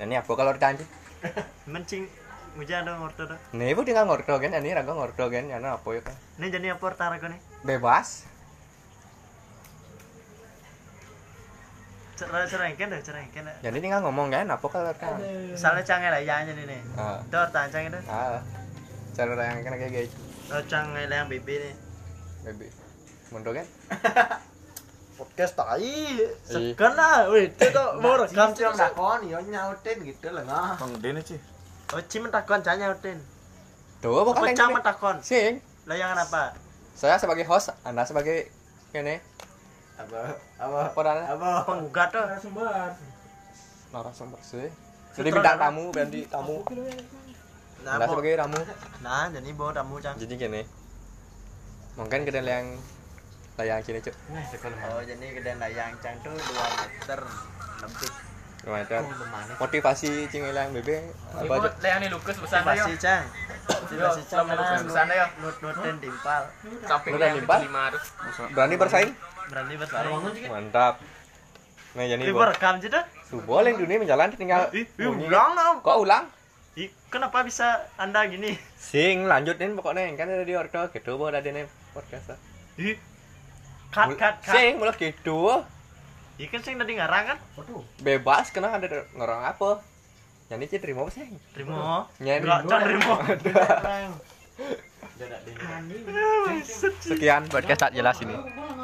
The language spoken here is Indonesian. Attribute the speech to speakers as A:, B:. A: Nani apa kalau kanji?
B: Mencing muja ada ngorto dah.
A: Nih bu tinggal ngordo kan, ini ragu ngordo kan, karena apa ya kan?
B: Ini jadi apa tarik nih?
A: Bebas.
B: Cerai cerai kan dah cerai kan. dah.
A: Jadi tinggal ngomong kan, apa kalau kan?
B: Misalnya canggih lah jangan jadi nih.
A: Ah,
B: Dor tan canggih dah.
A: ah, cara orang kan kayak gitu,
B: Oh canggih lah yang bibi nih.
A: baby. Mundo kan?
C: podcast tai
B: Segan lah, wih itu tuh mau rekam sih.
C: yang dakon yo nyautin gitu lah ngah
D: Bang Dene sih.
B: Oh cimen takon canggih utin.
A: Tuh,
C: Oh,
A: bukan
B: Pecah mentakon.
A: Sing,
B: Layangan apa?
A: saya sebagai host, anda sebagai ini
C: apa apa
A: Apa?
C: apa
B: Penggugat tuh.
A: narasumber sih. Jadi bintang tamu, berarti tamu.
B: Nah,
A: Anda
B: bo-
A: sebagai tamu.
B: nah jadi bawa tamu cang.
A: Jadi gini, mungkin kita yang layang sini cuk,
C: nah sekolah
B: Oh jadi gedean layang cang tuh 2 meter lebih.
A: lumayan. Motivasi cing yang bebe apa cuk?
D: Leane Lukas pesan ayo.
B: Masih cang. Masih cang.
D: Lamun Lukas pesan ayo.
B: Nut nutin timpal.
D: Samping
A: Lu udah nimpal?
D: 500.
A: Berani bersaing?
B: Berani bertarung.
A: Mantap. Nah, jadi
B: Ibu
A: bo-
B: rekam aja dah.
A: subuh yang dunia menjalan tinggal
B: Ah, Ih, ih,
A: bunyi.
B: ulang dong.
A: Kok ulang?
B: Ih, kenapa bisa anda gini?
A: Sing lanjutin pokoknya kan ada di ordo gitu bo ada nih podcast.
B: Ih, cut
A: Mul-
B: cut cut.
A: Sing mulai gitu.
B: Ih kan sing tadi ngarang kan?
A: bebas kena ada der- ngerong apa jadi kita terima apa sih
B: Terima.
A: Nyen.
B: Enggak cang terima.
C: tidak
B: Buset.
A: sekian podcast tak jelas ini